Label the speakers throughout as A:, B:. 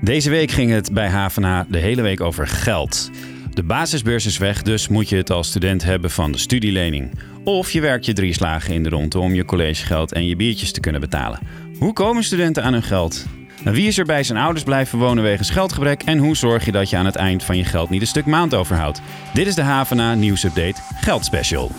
A: Deze week ging het bij HVNH de hele week over geld. De basisbeurs is weg, dus moet je het als student hebben van de studielening. Of je werkt je drie slagen in de ronde om je collegegeld en je biertjes te kunnen betalen. Hoe komen studenten aan hun geld? En wie is er bij zijn ouders blijven wonen wegens geldgebrek? En hoe zorg je dat je aan het eind van je geld niet een stuk maand overhoudt? Dit is de HVNA Nieuwsupdate Geld Special.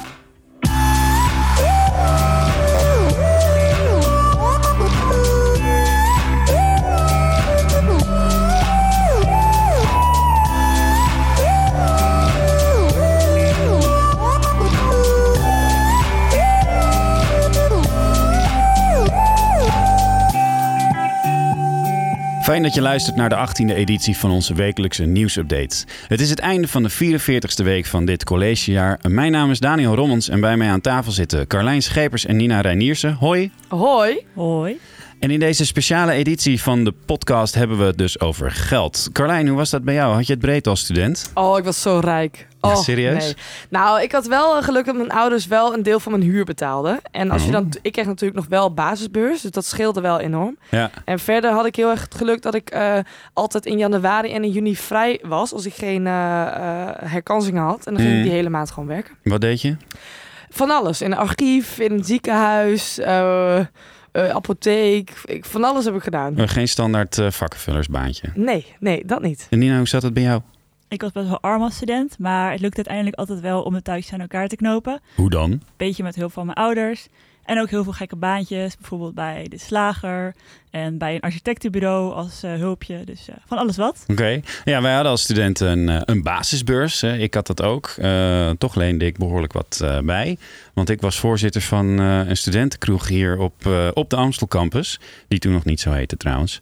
A: Fijn dat je luistert naar de 18e editie van onze wekelijkse nieuwsupdate. Het is het einde van de 44e week van dit collegejaar. Mijn naam is Daniel Rommens en bij mij aan tafel zitten Carlijn Schepers en Nina Reiniersen. Hoi.
B: Hoi.
C: Hoi.
A: En in deze speciale editie van de podcast hebben we het dus over geld. Carlijn, hoe was dat bij jou? Had je het breed als student?
B: Oh, ik was zo rijk. Oh,
A: Ja, serieus?
B: nee. Nou, ik had wel eh, geluk dat mijn ouders wel een deel van mijn huur betaalden. En als je
A: Oh.
B: dan, ik kreeg natuurlijk nog wel basisbeurs, dus dat scheelde wel enorm.
A: Ja.
B: En verder had ik heel erg het geluk dat ik eh, altijd in januari en in juni vrij was als ik geen eh, eh, herkansingen had. En dan ging
A: Mm.
B: ik die hele maand gewoon werken.
A: Wat deed je?
B: Van alles. In een archief, in een ziekenhuis, eh, eh, apotheek. Ik, van alles heb ik gedaan.
A: Eh, Geen standaard eh, vakkenvullersbaantje.
B: Nee, nee, dat niet.
A: En Nina, hoe zat het bij jou?
C: Ik was best wel arm als student, maar het lukt uiteindelijk altijd wel om het thuis aan elkaar te knopen.
A: Hoe dan?
C: Beetje met hulp van mijn ouders. En ook heel veel gekke baantjes, bijvoorbeeld bij de slager en bij een architectenbureau als eh, hulpje. Dus eh, van alles wat.
A: Oké. Ja, wij hadden als studenten een, eh, een basisbeurs. hè. Ik had dat ook. Eh, toch leende ik behoorlijk wat eh, bij. Want ik was voorzitter van eh, een studentenkroeg hier op, eh, op de Amstel Campus. Die toen nog niet zo heette trouwens.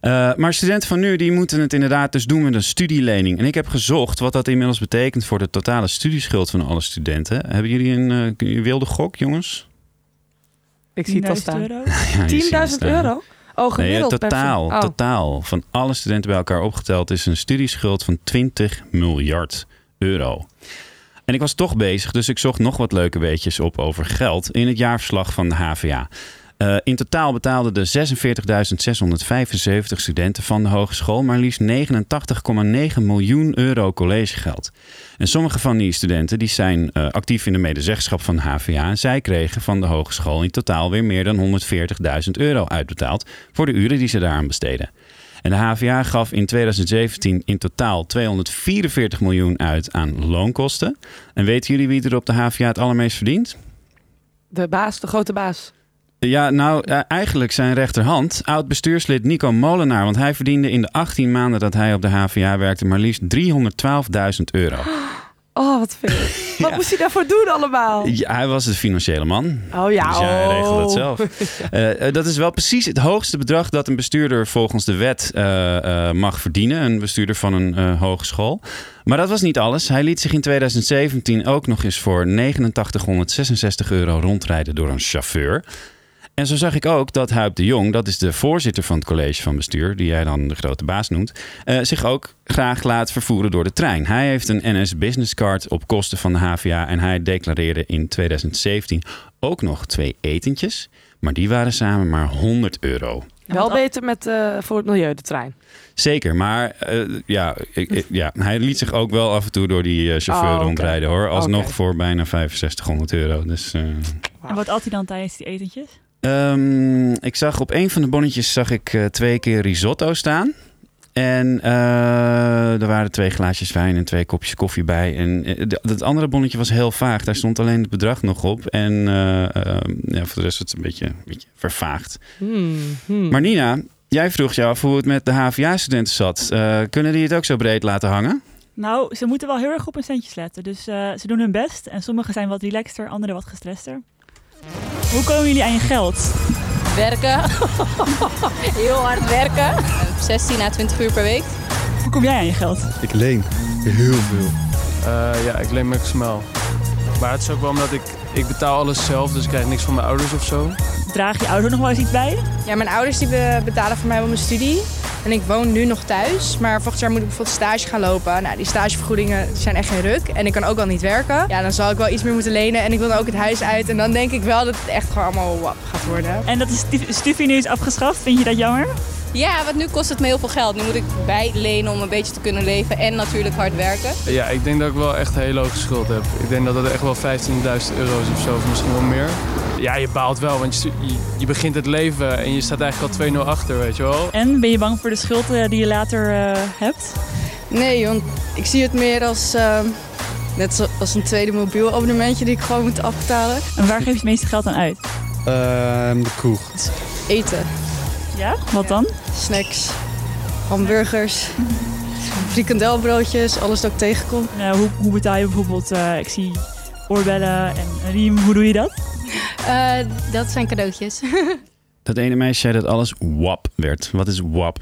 A: Eh, maar studenten van nu die moeten het inderdaad dus doen met een studielening. En ik heb gezocht wat dat inmiddels betekent voor de totale studieschuld van alle studenten. Hebben jullie een eh, wilde gok, jongens?
B: Ik zie het al
C: 10.000
B: staan.
C: euro.
A: Ja, je ziet het eh.
B: 10.000
A: staan.
B: euro?
A: Nee, eh,
B: Oh, gemiddeld per
A: totaal,
B: persoon. Oh.
A: totaal van alle studenten bij elkaar opgeteld is een studieschuld van 20 miljard euro. En ik was toch bezig, dus ik zocht nog wat leuke weetjes op over geld in het jaarverslag van de HVA. Eh, in totaal betaalden de 46.675 studenten van de hogeschool maar liefst 89,9 miljoen euro collegegeld. En sommige van die studenten die zijn eh, actief in de medezeggenschap van de HVA. En zij kregen van de hogeschool in totaal weer meer dan 140.000 euro uitbetaald voor de uren die ze daaraan besteden. En de HVA gaf in 2017 in totaal 244 miljoen uit aan loonkosten. En weten jullie wie er op de HVA het allermeest verdient?
B: De baas, de grote baas.
A: Ja, nou, eh, eigenlijk zijn rechterhand, oud-bestuurslid Nico Molenaar. Want hij verdiende in de 18 maanden dat hij op de HVA werkte maar liefst 312.000 euro.
B: Oh, wat veel. Wat moest hij daarvoor doen allemaal?
A: Ja, hij was de financiële man.
B: Oh ja,
A: Dus hij
B: oh.
A: regelde dat zelf. Eh, eh, dat is wel precies het hoogste bedrag dat een bestuurder volgens de wet eh, eh, mag verdienen. Een bestuurder van een eh, hogeschool. Maar dat was niet alles. Hij liet zich in 2017 ook nog eens voor 8966 euro rondrijden door een chauffeur. En zo zag ik ook dat Huip de Jong, dat is de voorzitter van het college van bestuur, die jij dan de grote baas noemt, eh, zich ook graag laat vervoeren door de trein. Hij heeft een NS Business Card op kosten van de HVA en hij declareerde in 2017 ook nog twee etentjes, maar die waren samen maar 100 euro.
B: Wel beter met, eh, voor het milieu, de trein.
A: Zeker, maar eh, ja, ik- ik- ja, hij liet zich ook wel af en toe door die eh, chauffeur
B: Oh, oké.
A: rondrijden hoor. Alsnog
B: Oké.
A: voor bijna 6500 euro. Dus, eh,
C: En wat at hij dan tijdens die etentjes?
A: Ehm, ik zag op een van de bonnetjes zag ik eh, twee keer risotto staan. En eh, er waren twee glaasjes wijn en twee kopjes koffie bij. En eh, d- dat andere bonnetje was heel vaag. Daar stond alleen het bedrag nog op. En eh, ehm, ja, voor de rest was het een beetje, een beetje vervaagd.
B: Hmm, hmm.
A: Maar Nina, jij vroeg je af hoe het met de HVA-studenten zat. Eh, kunnen die het ook zo breed laten hangen?
C: Nou, ze moeten wel heel erg op hun centjes letten. Dus eh, ze doen hun best. En sommigen zijn wat relaxter, anderen wat gestrester. Hoe komen jullie aan je geld?
D: Werken. Heel hard werken. 16 à 20 uur per week.
C: Hoe kom jij aan je geld?
E: Ik leen heel veel.
F: Eh, ja, ik leen maximaal. Maar het is ook wel omdat ik, ik betaal alles zelf, dus ik krijg niks van mijn ouders of zo.
C: Draag je ouder nog wel eens iets bij?
D: Ja, mijn ouders die be- betalen voor mij wel mijn studie. En ik woon nu nog thuis, maar volgend jaar moet ik bijvoorbeeld stage gaan lopen. Nou, die stagevergoedingen zijn echt geen ruk. En ik kan ook al niet werken. Ja, dan zal ik wel iets meer moeten lenen en ik wil dan ook het huis uit. En dan denk ik wel dat het echt gewoon allemaal wap gaat worden.
C: En dat de stu- Stufie nu is afgeschaft, vind je dat jammer?
D: Ja, want nu kost het me heel veel geld. Nu moet ik bijlenen om een beetje te kunnen leven en natuurlijk hard werken.
F: Ja, ik denk dat ik wel echt heel hoge schuld heb. Ik denk dat dat echt wel 15.000 euro is of zo, of misschien wel meer. Ja, je baalt wel, want je, stu- je, je begint het leven en je staat eigenlijk al 2-0 achter, weet je wel.
C: En ben je bang voor de schuld eh, die je later eh, hebt?
D: Nee, want ik zie het meer als ehm, net als een tweede mobiel abonnementje die ik gewoon moet afbetalen.
C: En waar geef je het meeste geld aan uit?
E: Ehm, de kroeg.
D: Eten,
C: Ja? Wat dan?
D: snacks, hamburgers, frikandelbroodjes, alles dat ik tegenkom.
C: En, eh, hoe, hoe betaal je bijvoorbeeld, eh, ik zie oorbellen en een riem, hoe doe je dat?
D: Eh, dat zijn cadeautjes.
A: Dat ene meisje zei dat alles wap werd. Wat is wap?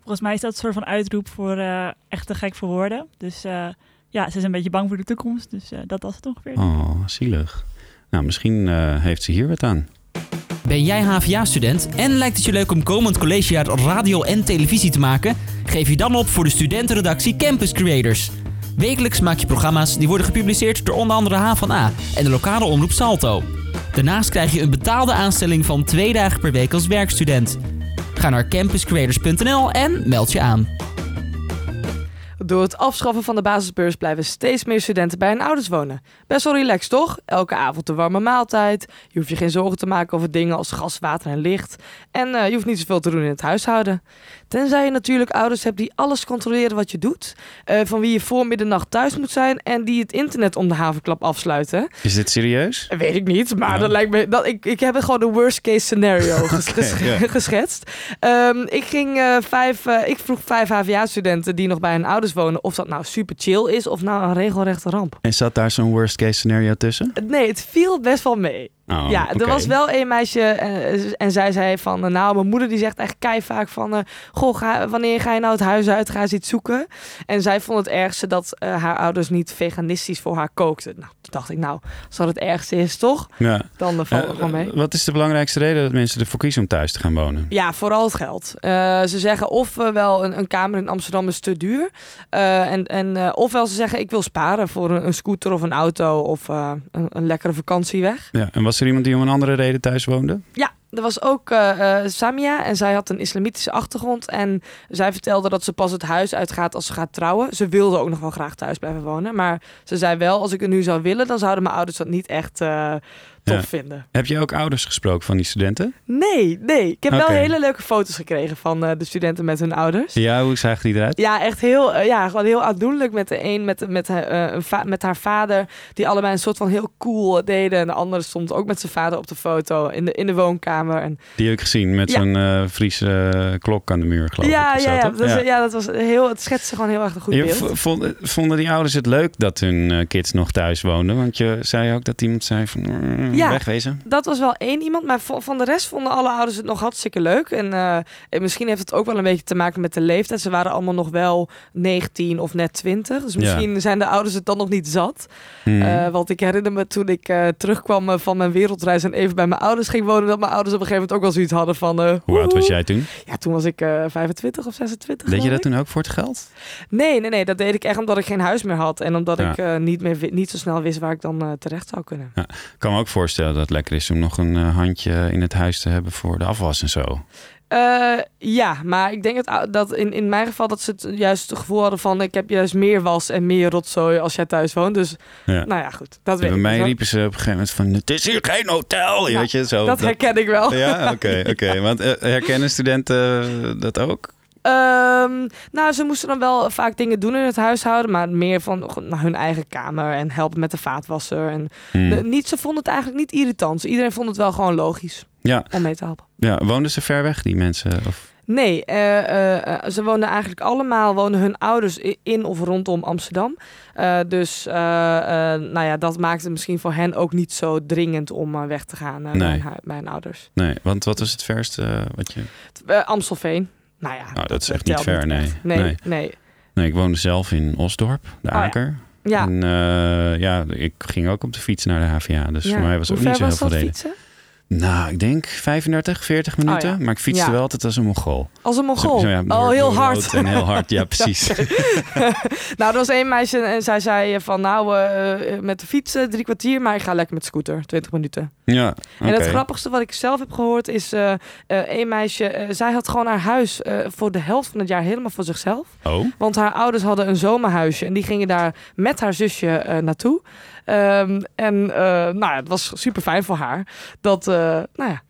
C: Volgens mij is dat een soort van uitroep voor eh, echt te gek voor woorden. Dus eh, ja, ze is een beetje bang voor de toekomst, dus eh, dat was het ongeveer.
A: Oh, zielig. Nou, misschien eh, heeft ze hier wat aan.
G: Ben jij HVA-student en lijkt het je leuk om komend collegejaar radio en televisie te maken? Geef je dan op voor de studentenredactie Campus Creators. Wekelijks maak je programma's die worden gepubliceerd door onder andere HVA en de lokale omroep Salto. Daarnaast krijg je een betaalde aanstelling van twee dagen per week als werkstudent. Ga naar campuscreators.nl en meld je aan.
B: Door het afschaffen van de basisbeurs blijven steeds meer studenten bij hun ouders wonen. Best wel relaxed, toch? Elke avond een warme maaltijd. Je hoeft je geen zorgen te maken over dingen als gas, water en licht. En eh, je hoeft niet zoveel te doen in het huishouden. Tenzij je natuurlijk ouders hebt die alles controleren wat je doet. eh, van wie je voor middernacht thuis moet zijn en die het internet om de havenklap afsluiten.
A: Is dit serieus?
B: Weet ik niet, maar
A: Ja.
B: dat lijkt me. Dat, ik, ik heb gewoon de worst case scenario ges- ges-
A: ja.
B: geschetst. Ehm, ik, ging, eh, vijf, eh, ik vroeg vijf HVA-studenten die nog bij hun ouders wonen of dat nou super chill is of nou een regelrechte ramp.
A: En zat daar zo'n worst case scenario tussen?
B: Nee, het viel best wel mee.
A: Oh,
B: ja, er
A: oké.
B: was wel een meisje eh, en zij zei van, eh, nou, mijn moeder die zegt echt kei vaak van, eh, goh, ga- wanneer ga je nou het huis uit, ga eens iets zoeken. En zij vond het ergste dat eh, haar ouders niet veganistisch voor haar kookten. Nou, toen dacht ik, nou, als dat het ergste is, toch?
A: Ja.
B: Dan eh, valt het wel mee.
A: Eh, wat is de belangrijkste reden dat mensen ervoor kiezen om thuis te gaan wonen?
B: Ja, vooral het geld. Eh, ze zeggen ofwel wel een, een kamer in Amsterdam is te duur. Eh, en, en, eh, ofwel ze zeggen ik wil sparen voor een, een scooter of een auto of eh, een, een lekkere vakantie weg.
A: Ja. En was er iemand die om een andere reden thuis woonde?
B: Ja, er was ook eh, eh, Samia en zij had een islamitische achtergrond. En zij vertelde dat ze pas het huis uitgaat als ze gaat trouwen. Ze wilde ook nog wel graag thuis blijven wonen. Maar ze zei wel, als ik het nu zou willen, dan zouden mijn ouders dat niet echt eh, tof
A: Ja.
B: vinden.
A: Heb je ook ouders gesproken van die studenten?
B: Nee, nee. Ik heb
A: Oké.
B: wel hele leuke foto's gekregen van eh, de studenten met hun ouders.
A: Ja, hoe zagen die eruit?
B: Ja, echt heel, eh, ja, gewoon heel aandoenlijk met de een, met, met, eh, een va- met haar vader, die allebei een soort van heel cool eh, deden. En de andere stond ook met zijn vader op de foto in de, in de woonkamer. En,
A: Die heb ik gezien met
B: Ja.
A: zo'n eh, Friese eh, klok aan de muur, geloof
B: ja,
A: ik. of zo,
B: ja, ja,
A: toch?
B: dat was, ja. dat was heel, het schetste gewoon heel erg een goed
A: Je
B: beeld.
A: v- vond- vonden die ouders het leuk dat hun eh, kids nog thuis woonden? Want je zei ook dat iemand zei van mm,
B: Ja.
A: wegwezen.
B: Dat was wel één iemand, maar vo- van de rest vonden alle ouders het nog hartstikke leuk. En eh, eh, misschien heeft het ook wel een beetje te maken met de leeftijd. Ze waren allemaal nog wel 19 of net 20. Dus
A: Ja.
B: misschien zijn de ouders het dan nog niet zat.
A: Hmm.
B: Eh, want ik herinner me toen ik eh, terugkwam eh, van mijn wereldreis en even bij mijn ouders ging wonen, dat mijn ouders op een gegeven moment ook wel zoiets hadden van. eh,
A: Hoe oud was
B: woehoe.
A: jij toen?
B: Ja, toen was ik eh, 25 of 26.
A: Deed je
B: geloof
A: dat toen ook voor het geld?
B: ik. Nee, nee, nee, dat deed ik echt omdat ik geen huis meer had en omdat
A: Ja.
B: ik eh, niet, meer, wi- niet zo snel wist waar ik dan eh, terecht zou kunnen.
A: Ik kan me ook voorstellen dat het lekker is om nog een eh, handje in het huis te hebben voor de afwas en zo. Dus
B: Eh, ja, maar ik denk het, ou- dat in, in mijn geval dat ze het juist het gevoel hadden van ik heb juist meer was en meer rotzooi als jij thuis woont. Dus
A: Ja.
B: nou ja, goed. Dat weet
A: Bij
B: ik
A: mij
B: niet, hoor.
A: riepen ze op een gegeven moment van het is hier geen hotel,
B: Ja,
A: weet je zo.
B: dat herken ik wel.
A: Ja, oké, oké. Want eh, herkennen studenten eh, dat ook?
B: Ehm, nou, ze moesten dan wel vaak dingen doen in het huishouden, maar meer van goh, nou, hun eigen kamer en helpen met de vaatwasser. En
A: Hmm.
B: de- niet, ze vonden het eigenlijk niet irritant. Iedereen vond het wel gewoon logisch
A: Ja,
B: om mee te helpen.
A: ja, woonden ze ver weg die mensen? Of...
B: Nee, eh, eh, eh, ze woonden eigenlijk allemaal, wonen hun ouders i- in of rondom Amsterdam. Eh, dus eh, eh, nou ja, dat maakte het misschien voor hen ook niet zo dringend om eh, weg te gaan eh,
A: Nee.
B: bij, hun, hui- bij hun ouders.
A: Nee, want wat was het verste eh, wat je...
B: Eh, Amstelveen, nou ja.
A: Nou, dat is echt niet
B: telt
A: ver, nee.
B: echt. Nee,
A: Nee.
B: nee.
A: Nee, ik woonde zelf in Osdorp, de
B: ja.
A: Aker.
B: Ja.
A: En eh, ja, ik ging ook op de fiets naar de HVA. Dus voor mij was
B: Hoe
A: ook niet
B: ver
A: zo heel
B: was
A: veel
B: dat
A: reden.
B: fietsen?
A: Nou, ik denk 35, 40 minuten.
B: Oh ja.
A: Maar ik fietste
B: Ja.
A: wel altijd als een mongool.
B: Als een mongool.
A: Zo- zo, ja,
B: oh,
A: door-
B: heel
A: door
B: hard.
A: rood En heel hard, ja precies.
B: Nou, er was één meisje en zij zei van... Nou, eh, eh, met de fiets eh, drie kwartier, maar ik ga lekker met de scooter. 20 minuten.
A: Ja,
B: En
A: oké.
B: het grappigste wat ik zelf heb gehoord is eh eh, één meisje, eh, zij had gewoon haar huis eh, voor de helft van het jaar helemaal voor zichzelf.
A: Oh,
B: Want haar ouders hadden een zomerhuisje en die gingen daar met haar zusje eh, naartoe. Ehm, en eh, nou ja, het was super fijn voor haar. Dat, eh, nou ja,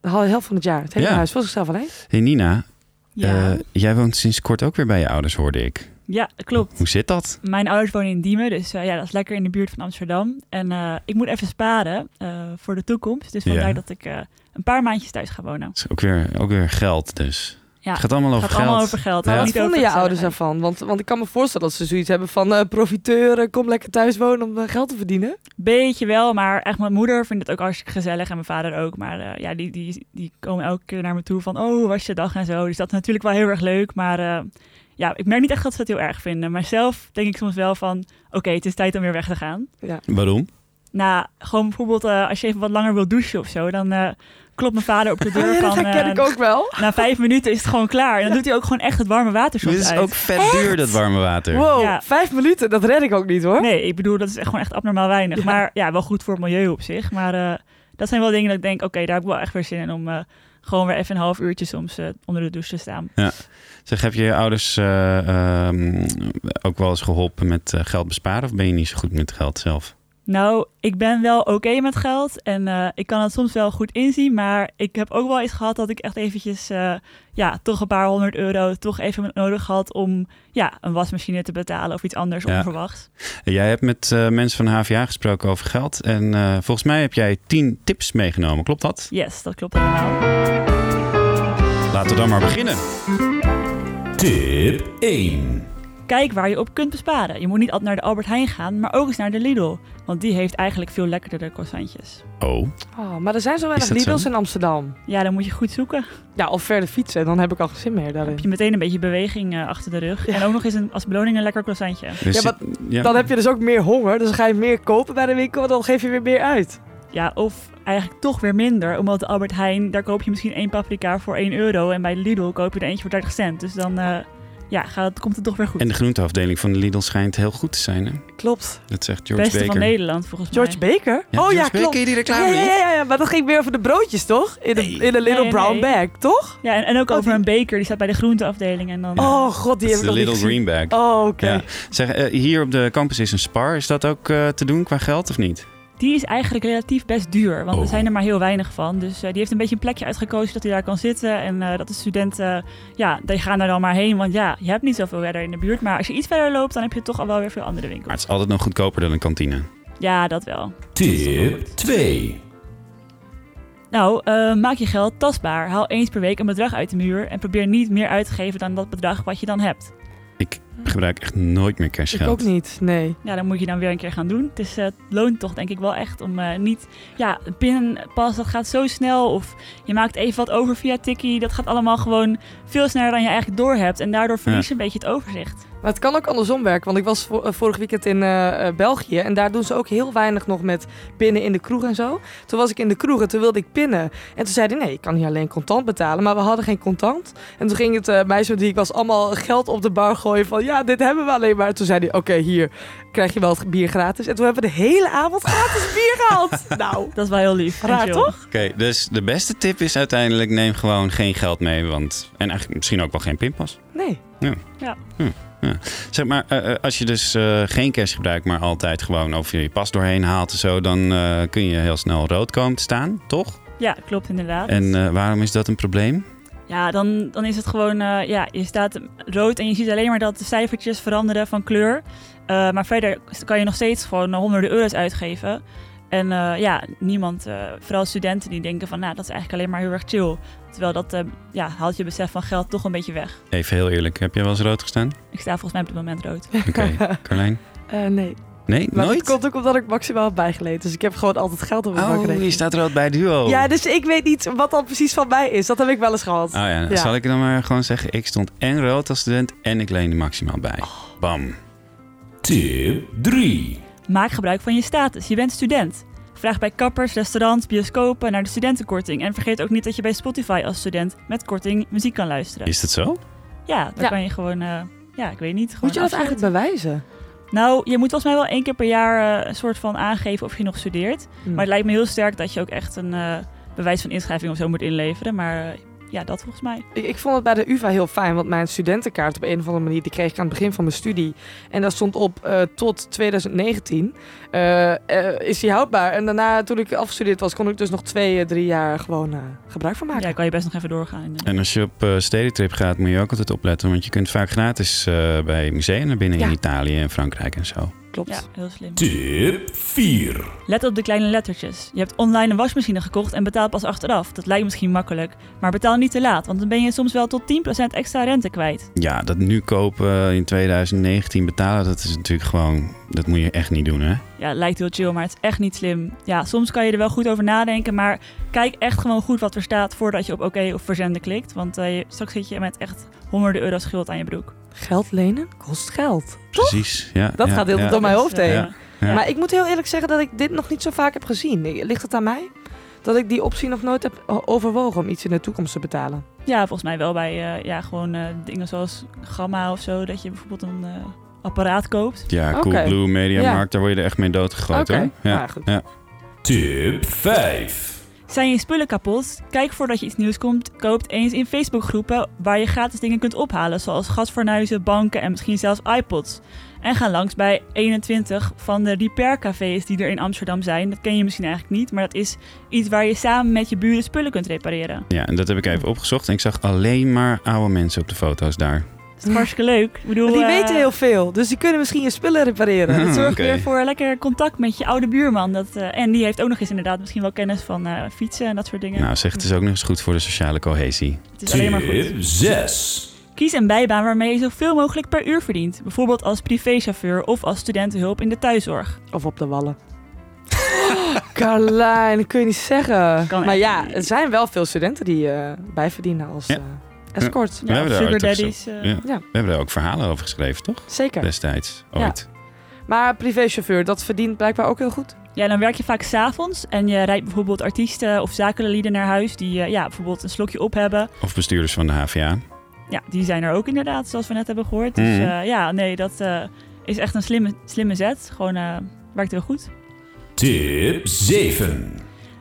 B: de hel- helft van het jaar, het hele
A: Ja.
B: huis voor zichzelf alleen.
A: hey Nina.
C: Ja,
A: eh, jij woont sinds kort ook weer bij je ouders, hoorde ik.
C: ja klopt.
A: Hoe zit dat?
C: Mijn ouders wonen in Diemen, dus eh, ja, dat is lekker in de buurt van Amsterdam. En eh, ik moet even sparen eh, voor de toekomst. Dus
A: Ja.
C: vandaar dat ik eh, een paar maandjes thuis ga wonen.
A: Het is ook weer, ook weer geld dus.
C: Ja,
A: het gaat allemaal
C: Het
A: over
C: gaat
A: geld.
C: allemaal over geld.
A: Ja.
B: Maar
C: maar
B: wat
C: niet over
B: vonden je ouders
C: gezelligheid.
B: daarvan? Want, want ik kan me voorstellen dat ze zoiets hebben van eh profiteuren, kom lekker thuis wonen om eh, geld te verdienen.
C: Beetje wel, maar echt mijn moeder vindt het ook hartstikke gezellig en mijn vader ook. Maar eh, ja, die, die, die komen elke keer naar me toe van, oh, hoe was je dag en zo. Dus dat is natuurlijk wel heel erg leuk, maar eh, ja, ik merk niet echt dat ze het heel erg vinden. Maar zelf denk ik soms wel van, oké, het is tijd om weer weg te gaan.
A: Waarom?
C: Nou, gewoon bijvoorbeeld eh, als je even wat langer wil douchen of zo, dan eh, klopt mijn vader op de deur
B: Ja, dat
C: van,
B: herken
C: eh,
B: ik ook wel.
C: na vijf minuten is het gewoon klaar. En dan doet hij ook gewoon echt het warme water soms
A: Dit is
C: uit.
A: ook vet duur, dat warme water.
B: Wow,
C: Ja.
B: vijf minuten, dat red ik ook niet hoor.
C: Nee, ik bedoel, dat is echt gewoon echt abnormaal weinig.
B: Ja.
C: Maar ja, wel goed voor het milieu op zich. Maar eh, dat zijn wel dingen dat ik denk, oké, daar heb ik wel echt weer zin in om eh, gewoon weer even een half uurtje soms eh, onder de douche te staan.
A: Zeg, heb je je ouders eh, ehm, ook wel eens geholpen met eh, geld besparen? Of ben je niet zo goed met geld zelf?
C: Nou, ik ben wel oké met geld en eh, ik kan het soms wel goed inzien. Maar ik heb ook wel eens gehad dat ik echt eventjes, eh, ja, toch een paar honderd euro toch even nodig had om, ja, een wasmachine te betalen of iets anders
A: Ja.
C: onverwachts.
A: Jij hebt met eh, mensen van HVA gesproken over geld. En eh, volgens mij heb jij tien tips meegenomen. Klopt dat?
C: Yes, dat klopt helemaal.
A: Laten we dan maar beginnen.
G: Tip 1.
C: Kijk waar je op kunt besparen. Je moet niet altijd naar de Albert Heijn gaan, maar ook eens naar de Lidl. Want die heeft eigenlijk veel lekkerdere croissantjes.
A: Oh,
B: Oh, maar er zijn zo weinig
A: dat zo?
B: Lidl's in Amsterdam.
C: Ja, dan moet je goed zoeken.
B: Ja, of verder fietsen, dan heb ik al geen zin meer daarin.
C: Heb je meteen een beetje beweging eh, achter de rug. En ook nog eens een, als beloning een lekker croissantje.
A: dus
B: Ja,
A: dit- ja.
B: Dan heb je dus ook meer honger, dus dan ga je meer kopen bij de winkel, dan geef je weer meer uit.
C: Ja, of eigenlijk toch weer minder. Omdat de Albert Heijn, daar koop je misschien één paprika voor 1 euro. En bij de Lidl koop je er eentje voor 30 cent. Dus dan eh, ja, gaat, komt het toch weer goed.
A: En de groenteafdeling van de Lidl schijnt heel goed te zijn. Hè?
B: Klopt.
A: Dat zegt
C: Het
A: George
C: beste
A: Baker.
C: van Nederland volgens
B: George
C: mij.
B: Baker?
A: Ja,
B: oh ja,
A: George Baker,
B: klopt.
A: ken je die
B: Ja,
A: reclame
B: ja,
A: niet?
B: ja, ja, ja, maar dat ging weer over de broodjes, toch? In de, in de Little
C: Nee,
B: Brown
C: nee.
B: Bag, toch?
C: Ja, en, en ook
B: Oh,
C: over
B: die-
C: een beker. Die staat bij de groenteafdeling. En dan, eh,
B: Oh god,
A: Dat is
B: die heb ik
A: de
B: nog niet
A: Lidl
B: gezien.
A: Greenback.
B: Oh, oké.
A: Ja. Zeg, eh, hier op de campus is een spar. Is dat ook eh, te doen qua geld of niet?
C: Die is eigenlijk relatief best duur, want
A: Oh.
C: er zijn er maar heel weinig van. Dus eh, die heeft een beetje een plekje uitgekozen dat hij daar kan zitten. En eh, dat de studenten, ja, die gaan daar dan maar heen. Want ja, je hebt niet zoveel verder in de buurt. Maar als je iets verder loopt, dan heb je toch al wel weer veel andere
A: Maar
C: winkels.
A: het is altijd nog goedkoper dan een kantine.
C: Ja, dat wel.
G: Tip 2.
C: Nou, eh, maak je geld tastbaar. Haal eens per week een bedrag uit de muur. En probeer niet meer uit te geven dan dat bedrag wat je dan hebt.
A: Ik gebruik echt nooit meer
B: Ik ook
A: cashgeld.
B: niet, nee.
C: Ja, dat moet je dan weer een keer gaan doen. Het is, eh, het loont toch denk ik wel echt om eh, niet... Ja, een pinpas, dat gaat zo snel. Of je maakt even wat over via Tikkie. Dat gaat allemaal gewoon veel sneller dan je eigenlijk doorhebt. En daardoor verlies je een beetje het overzicht.
B: Maar het kan ook andersom werken, want ik was vo- eh, vorig weekend in eh, eh, België en daar doen ze ook heel weinig nog met pinnen in de kroeg en zo. Toen was ik in de kroeg en toen wilde ik pinnen. En toen zeiden nee, ik kan hier alleen contant betalen, maar we hadden geen contant. En toen ging het eh, meisje die ik was allemaal geld op de bar gooien van ja, dit hebben we alleen maar. Toen zei hij, oké, hier krijg je wel het bier gratis. En toen hebben we de hele avond gratis bier gehaald. Nou,
C: Dat is wel heel lief.
B: Raar,
C: Dankjewel.
B: toch?
A: Oké, dus de beste tip is uiteindelijk neem gewoon geen geld mee. Want, en eigenlijk misschien ook wel geen pinpas.
B: nee.
A: Zeg maar, eh, eh, als je dus eh, geen cash gebruikt, maar altijd gewoon over je pas doorheen haalt en zo, dan eh, kun je heel snel rood komen te staan, toch?
C: Ja, klopt inderdaad.
A: En eh, waarom is dat een probleem?
C: Ja, dan, dan is het gewoon, eh, ja, je staat rood en je ziet alleen maar dat de cijfertjes veranderen van kleur. Eh, maar verder kan je nog steeds gewoon eh, honderden euro's uitgeven. En eh, ja, niemand, eh, vooral studenten die denken van, nou, dat is eigenlijk alleen maar heel erg chill. Terwijl dat, eh, ja, haalt je besef van geld toch een beetje weg.
A: Even heel eerlijk, heb jij wel eens rood gestaan?
C: Ik sta volgens mij op dit moment rood.
A: Oké, Carlijn?
B: Eh, nee.
A: Nee,
B: Maar dat
A: nooit?
B: komt ook omdat ik maximaal heb bijgeleend. Dus ik heb gewoon altijd geld op mijn
A: Oh,
B: bankrekening.
A: je staat rood bij duo.
B: Ja, dus ik weet niet wat dat precies van mij is. Dat heb ik wel eens gehad.
A: Oh ja,
B: Ja.
A: zal ik dan maar gewoon zeggen, ik stond en rood als student en ik leende maximaal bij.
B: Oh.
A: Bam.
G: Tip 3.
C: Maak gebruik van je status. Je bent student. Vraag bij kappers, restaurants, bioscopen naar de studentenkorting. En vergeet ook niet dat je bij Spotify als student met korting muziek kan luisteren.
A: Is dat zo?
C: Ja, dan
B: Ja.
C: kan je gewoon, eh, ja, ik weet niet. Gewoon
B: Moet je dat
C: afsluiten.
B: eigenlijk bewijzen?
C: Nou, je moet volgens mij wel één keer per jaar eh, een soort van aangeven of je nog studeert. Maar het lijkt me heel sterk dat je ook echt een eh, bewijs van inschrijving of zo moet inleveren. Maar eh, ja, dat volgens mij.
B: Ik, ik vond het bij de UvA heel fijn, want mijn studentenkaart op een of andere manier... die kreeg ik aan het begin van mijn studie. En daar stond op eh, tot 2019 eh, eh, is die houdbaar. En daarna, toen ik afgestudeerd was, kon ik dus nog twee, eh, drie jaar gewoon eh, gebruik van maken.
C: Ja, kan je best nog even doorgaan. inderdaad.
A: En als je op eh, stedentrip gaat, moet je ook altijd opletten. Want je kunt vaak gratis eh, bij musea naar binnen in
B: Ja.
A: Italië en Frankrijk en zo.
B: Klopt.
C: Ja, heel slim.
H: Tip 4.
C: Let op de kleine lettertjes. Je hebt online een wasmachine gekocht en betaalt pas achteraf. Dat lijkt misschien makkelijk. Maar betaal niet te laat, want dan ben je soms wel tot 10% extra rente kwijt.
A: Ja, dat nu kopen eh, in 2019 betalen, dat is natuurlijk gewoon... Dat moet je echt niet doen, hè?
C: Ja, lijkt heel chill, maar het is echt niet slim. Ja, soms kan je er wel goed over nadenken, maar kijk echt gewoon goed wat er staat voordat je op oké of verzenden klikt. Want eh, je- straks zit je met echt honderden euro's schuld aan je broek.
B: Geld lenen kost geld.
A: Precies. Ja,
B: Dat
A: ja,
B: gaat heel
A: ja.
B: goed door mijn
C: Dus,
B: hoofd
C: eh,
B: heen.
A: Ja. Ja.
B: Maar ik moet heel eerlijk zeggen dat ik dit nog niet zo vaak heb gezien. Ik- Ligt het aan mij? Dat ik die optie nog nooit heb o- overwogen om iets in de toekomst te betalen.
C: Ja, volgens mij wel bij eh, ja, gewoon eh, dingen zoals Gamma of zo. Dat je bijvoorbeeld een eh, apparaat koopt.
A: Ja,
B: Oké.
A: Coolblue,
B: Ja.
A: Mediamarkt, daar word je er echt mee doodgegooid, hoor. Ja.
B: maar goed.
H: Tip 5.
C: Zijn je spullen kapot? Kijk voordat je iets nieuws komt, koopt eens in Facebookgroepen waar je gratis dingen kunt ophalen, zoals gasfornuizen, banken en misschien zelfs iPods. En ga langs bij 21 van de repaircafés die er in Amsterdam zijn. Dat ken je misschien eigenlijk niet, maar dat is iets waar je samen met je buren spullen kunt repareren.
A: ja, en dat heb ik even opgezocht. En ik zag alleen maar oude mensen op de foto's daar.
C: Dat is hartstikke leuk. Ik bedoel,
B: Die
C: eh,
B: weten heel veel, dus die kunnen misschien je spullen repareren.
A: Hmm,
B: Dat zorgt-
A: oké.
C: Weer voor lekker contact met je oude buurman. Dat, eh, en die heeft ook nog eens inderdaad misschien wel kennis van eh, fietsen en dat soort dingen.
A: Nou, zeg, het is ook nog eens goed voor de sociale cohesie.
C: het is alleen maar goed.
H: Tip 6.
C: Kies een bijbaan waarmee je zoveel mogelijk per uur verdient. Bijvoorbeeld als privéchauffeur of als studentenhulp in de thuiszorg.
B: Of op de wallen. Carlijn, dat kun je niet zeggen.
C: Kan
B: maar
C: echt
B: ja,
C: niet.
B: er zijn wel veel studenten die eh, bijverdienen als
A: Ja.
B: eh, escort.
A: We hebben daar
C: sugar
A: ook
C: daddies. eh,
A: Ja.
C: ja.
A: We hebben daar ook verhalen over geschreven, toch?
B: Zeker.
A: Destijds, ooit.
B: Maar privéchauffeur, dat verdient blijkbaar ook heel goed.
C: dan werk je vaak s'avonds en je rijdt bijvoorbeeld artiesten of zakelijlieden naar huis die eh, ja, bijvoorbeeld een slokje op hebben.
A: Of bestuurders van de HVA.
C: Ja, die zijn er ook inderdaad, zoals we net hebben gehoord. Dus
A: Mhm.
C: eh, ja, nee, dat eh, is echt een slimme, slimme zet. Gewoon eh, werkt heel goed.
H: Tip 7.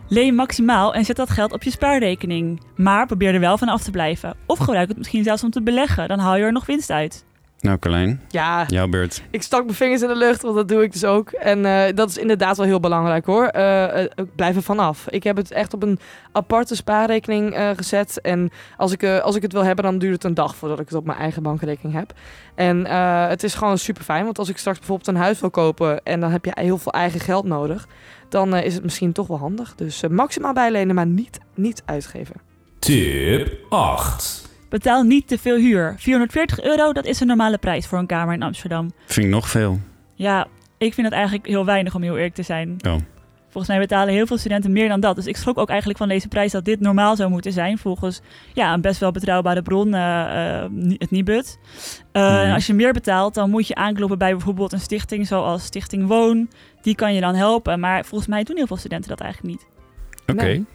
C: Leen maximaal en zet dat geld op je spaarrekening. Maar probeer er wel van af te blijven. Of gebruik het misschien zelfs om te beleggen. Dan haal je er nog winst uit.
A: Nou, Carlijn,
B: Ja,
A: jouw beurt.
B: Ik stak mijn vingers in de lucht, want dat doe ik dus ook. En eh, dat is inderdaad wel heel belangrijk hoor. Eh, eh, ik blijf er vanaf. Ik heb het echt op een aparte spaarrekening eh, gezet. En als ik, eh, als ik het wil hebben, dan duurt het een dag voordat ik het op mijn eigen bankrekening heb. En eh, het is gewoon super fijn, want als ik straks bijvoorbeeld een huis wil kopen en dan heb je heel veel eigen geld nodig, dan eh, is het misschien toch wel handig. Dus eh, maximaal bijlenen, maar niet, niet uitgeven.
H: Tip 8.
C: Betaal niet te veel huur. 440 euro, dat is een normale prijs voor een kamer in Amsterdam.
A: Vind ik nog veel.
C: Ja, ik vind dat eigenlijk heel weinig om heel eerlijk te zijn.
A: Oh.
C: Volgens mij betalen heel veel studenten meer dan dat. Dus ik schrok ook eigenlijk van deze prijs dat dit normaal zou moeten zijn. Volgens ja, een best wel betrouwbare bron, eh, eh, Ni- het Nibud. Eh,
A: Mhm.
C: en Als je meer betaalt, dan moet je aankloppen bij bijvoorbeeld een stichting zoals Stichting Woon. Die kan je dan helpen. Maar volgens mij doen heel veel studenten dat eigenlijk niet.
A: Oké.
B: Nee.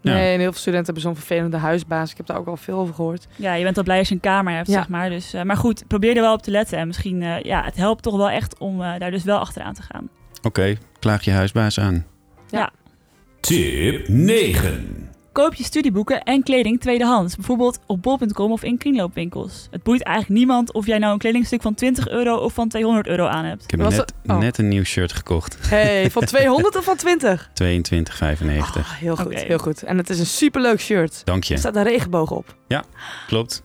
A: Ja.
B: Nee, en heel veel studenten hebben zo'n vervelende huisbaas. Ik heb daar ook al veel over gehoord.
C: Ja, je bent al blij als je een kamer hebt,
B: Ja.
C: zeg maar. Dus, eh, maar goed, probeer er wel op te letten. En misschien, eh, ja, het helpt toch wel echt om eh, daar dus wel achteraan te gaan.
A: Oké, klaag je huisbaas aan.
H: Tip 9.
C: Koop je studieboeken en kleding tweedehands. Bijvoorbeeld op bol.com of in kringloopwinkels. Het boeit eigenlijk niemand of jij nou een kledingstuk van 20 euro of van 200 euro aan hebt.
A: Ik heb
B: Was
A: net,
B: dat- oh.
A: net een nieuw shirt gekocht. 22,95.
B: hey, van 200 of van 20? Ah, heel goed,
C: Oké.
B: heel goed. En het is een superleuk shirt.
A: Dank
B: Er
A: je.
B: staat een regenboog op.
A: Klopt.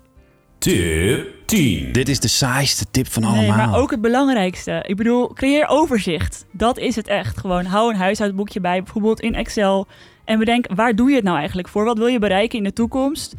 H: Tip 10.
A: Dit is de saaiste tip van allemaal.
C: Nee, maar ook het belangrijkste. Ik bedoel, creëer overzicht. Dat is het echt. Gewoon hou een huishoudboekje bij, bijvoorbeeld in Excel. En bedenk, waar doe je het nou eigenlijk voor? Wat wil je bereiken in de toekomst?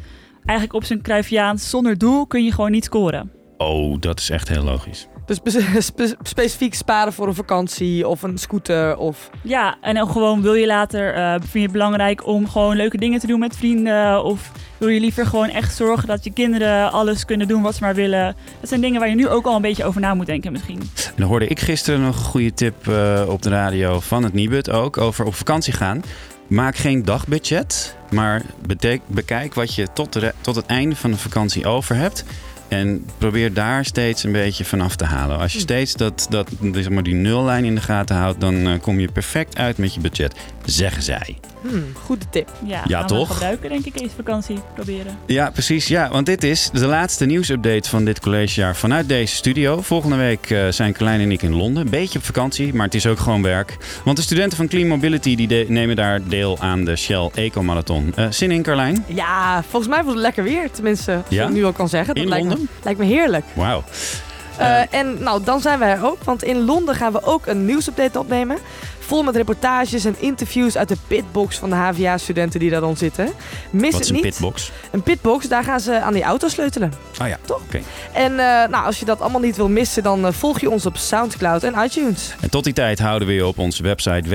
C: Eigenlijk op zijn Cruyffiaans, zonder doel kun je gewoon niet scoren.
A: Oh, dat is echt heel logisch.
B: Dus spe- spe- specifiek sparen voor een vakantie of een scooter of...
C: Ja, en ook gewoon wil je later, eh, vind je het belangrijk om gewoon leuke dingen te doen met vrienden? Of wil je liever gewoon echt zorgen dat je kinderen alles kunnen doen wat ze maar willen? Dat zijn dingen waar je nu ook al een beetje over na moet denken misschien.
A: En dan hoorde ik gisteren nog een goede tip eh, op de radio van het Nibud ook over op vakantie gaan. Maak geen dagbudget, maar betek- bekijk wat je tot, de re- tot het einde van de vakantie over hebt. En probeer daar steeds een beetje vanaf te halen. Als je steeds dat, dat, zeg maar die nullijn in de gaten houdt, dan eh, kom je perfect uit met je budget. Zeggen zij.
B: Hmm, goede tip.
C: Ja,
A: Ja,
C: gaan we
A: toch?
C: gebruiken denk ik deze vakantie proberen.
A: Ja, precies. Ja, want dit is de laatste nieuwsupdate van dit collegejaar vanuit deze studio. Volgende week eh, zijn Klein en ik in Londen. Beetje op vakantie, maar het is ook gewoon werk. Want de studenten van Clean Mobility die de- nemen daar deel aan de Shell Eco Marathon. Eh, zin in, Carlijn?
B: Ja, volgens mij was het lekker weer. Tenminste, als
A: Ja?
B: ik nu al kan zeggen. Dat
A: In
B: lijkt,
A: Londen?
B: Me, lijkt me heerlijk.
A: Wauw.
B: Eh, en nou, dan zijn wij er ook. Want in Londen gaan we ook een nieuwsupdate opnemen. Vol met reportages en interviews uit de pitbox van de HVA-studenten die daar rond zitten. Mis
A: Wat
B: het
A: is een
B: niet.
A: pitbox?
B: Een pitbox, daar gaan ze aan die auto sleutelen.
A: Oh ja,
B: Toch?
A: oké.
B: En eh, nou, als je dat allemaal niet wil missen, dan eh, volg je ons op Soundcloud en iTunes.
A: En tot die tijd houden we je op onze website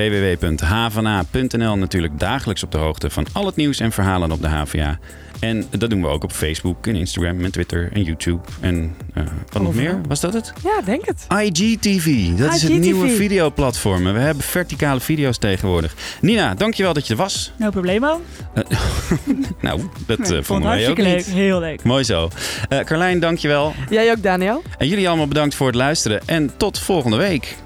A: www.hvna.nl natuurlijk dagelijks op de hoogte van al het nieuws en verhalen op de HVA. En dat doen we ook op Facebook en Instagram en Twitter en YouTube en eh, wat nog
B: Overal.
A: meer? Was dat het?
B: Ja, denk het.
A: IGTV. Dat is het
B: IGTV.
A: nieuwe videoplatform. En We hebben verticale video's tegenwoordig. Nina, dankjewel dat je er was.
C: No problemo.
A: Nou, dat eh,
C: Ik vond
A: vonden
C: het
A: wij ook
C: hartstikke
A: niet.
C: leuk. Heel leuk.
A: Mooi zo. Eh Carlijn, dankjewel.
B: Jij ook, Daniel?
A: En jullie allemaal bedankt voor het luisteren. En tot volgende week.